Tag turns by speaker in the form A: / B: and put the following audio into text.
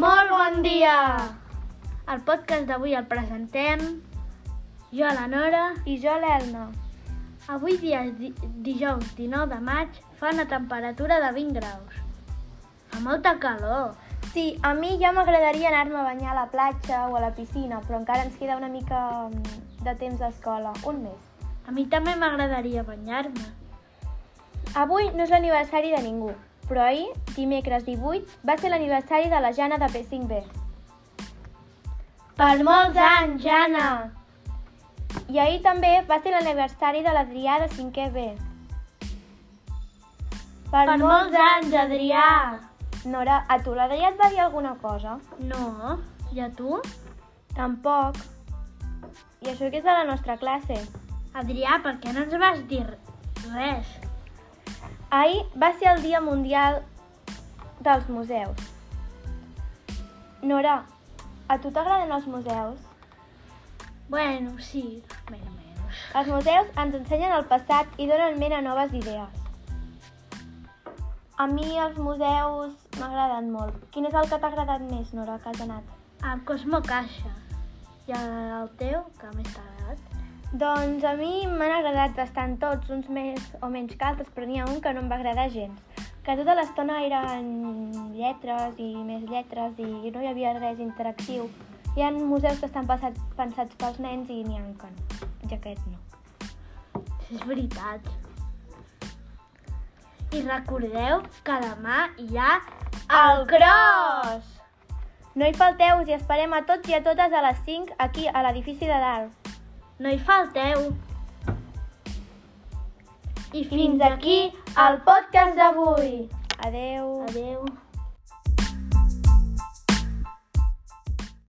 A: Bon dia! El podcast d'avui el presentem jo, la Nora,
B: I jo l'Elna.
A: Avui dia és di- dijous 19 de maig fa una temperatura de 20 graus. Fa molta calor.
B: Sí, a mi ja m'agradaria anar-me a banyar a la platja o a la piscina, però encara ens queda una mica mm, de temps d'escola, un mes.
A: A mi també m'agradaria banyar-me.
B: Avui no és l'aniversari de ningú, però ahir, dimecres 18, va ser l'aniversari de la Jana de P5B.
A: Per molts anys, Jana!
B: I ahir també va ser l'aniversari de l'Adrià de 5è B. Per,
A: anys, Adrià!
B: Nora, a tu l'Adrià et va dir alguna cosa?
A: No, i a tu?
B: Tampoc. I això que és de la nostra classe.
A: Adrià, per què no ens vas dir res?
B: Ahir va ser el Dia Mundial dels Museus. Nora, a tu t'agraden els museus?
A: Bueno, sí, més o menys.
B: Els museus ens ensenyen el passat i donen ment a noves idees. A mi els museus m'agraden molt. Quin és el que t'ha agradat més, Nora, que has anat?
A: El Cosmo Caixa. I el teu, que més t'ha agradat.
B: Doncs a mi m'han agradat bastant tots, uns més o menys que altres, però n'hi ha un que no em va agradar gens. Que tota l'estona eren lletres i més lletres i no hi havia res interactiu. Hi ha museus que estan passat, pensats pels nens i n'hi ha que no, i aquest no.
A: És veritat. I recordeu que demà hi ha
B: El Cros! No hi falteu i esperem a tots i a totes a les 5 aquí a l'edifici de dalt.
A: No hi falteu. I
B: Fins aquí el podcast d'avui. Adeu.
A: Adeu.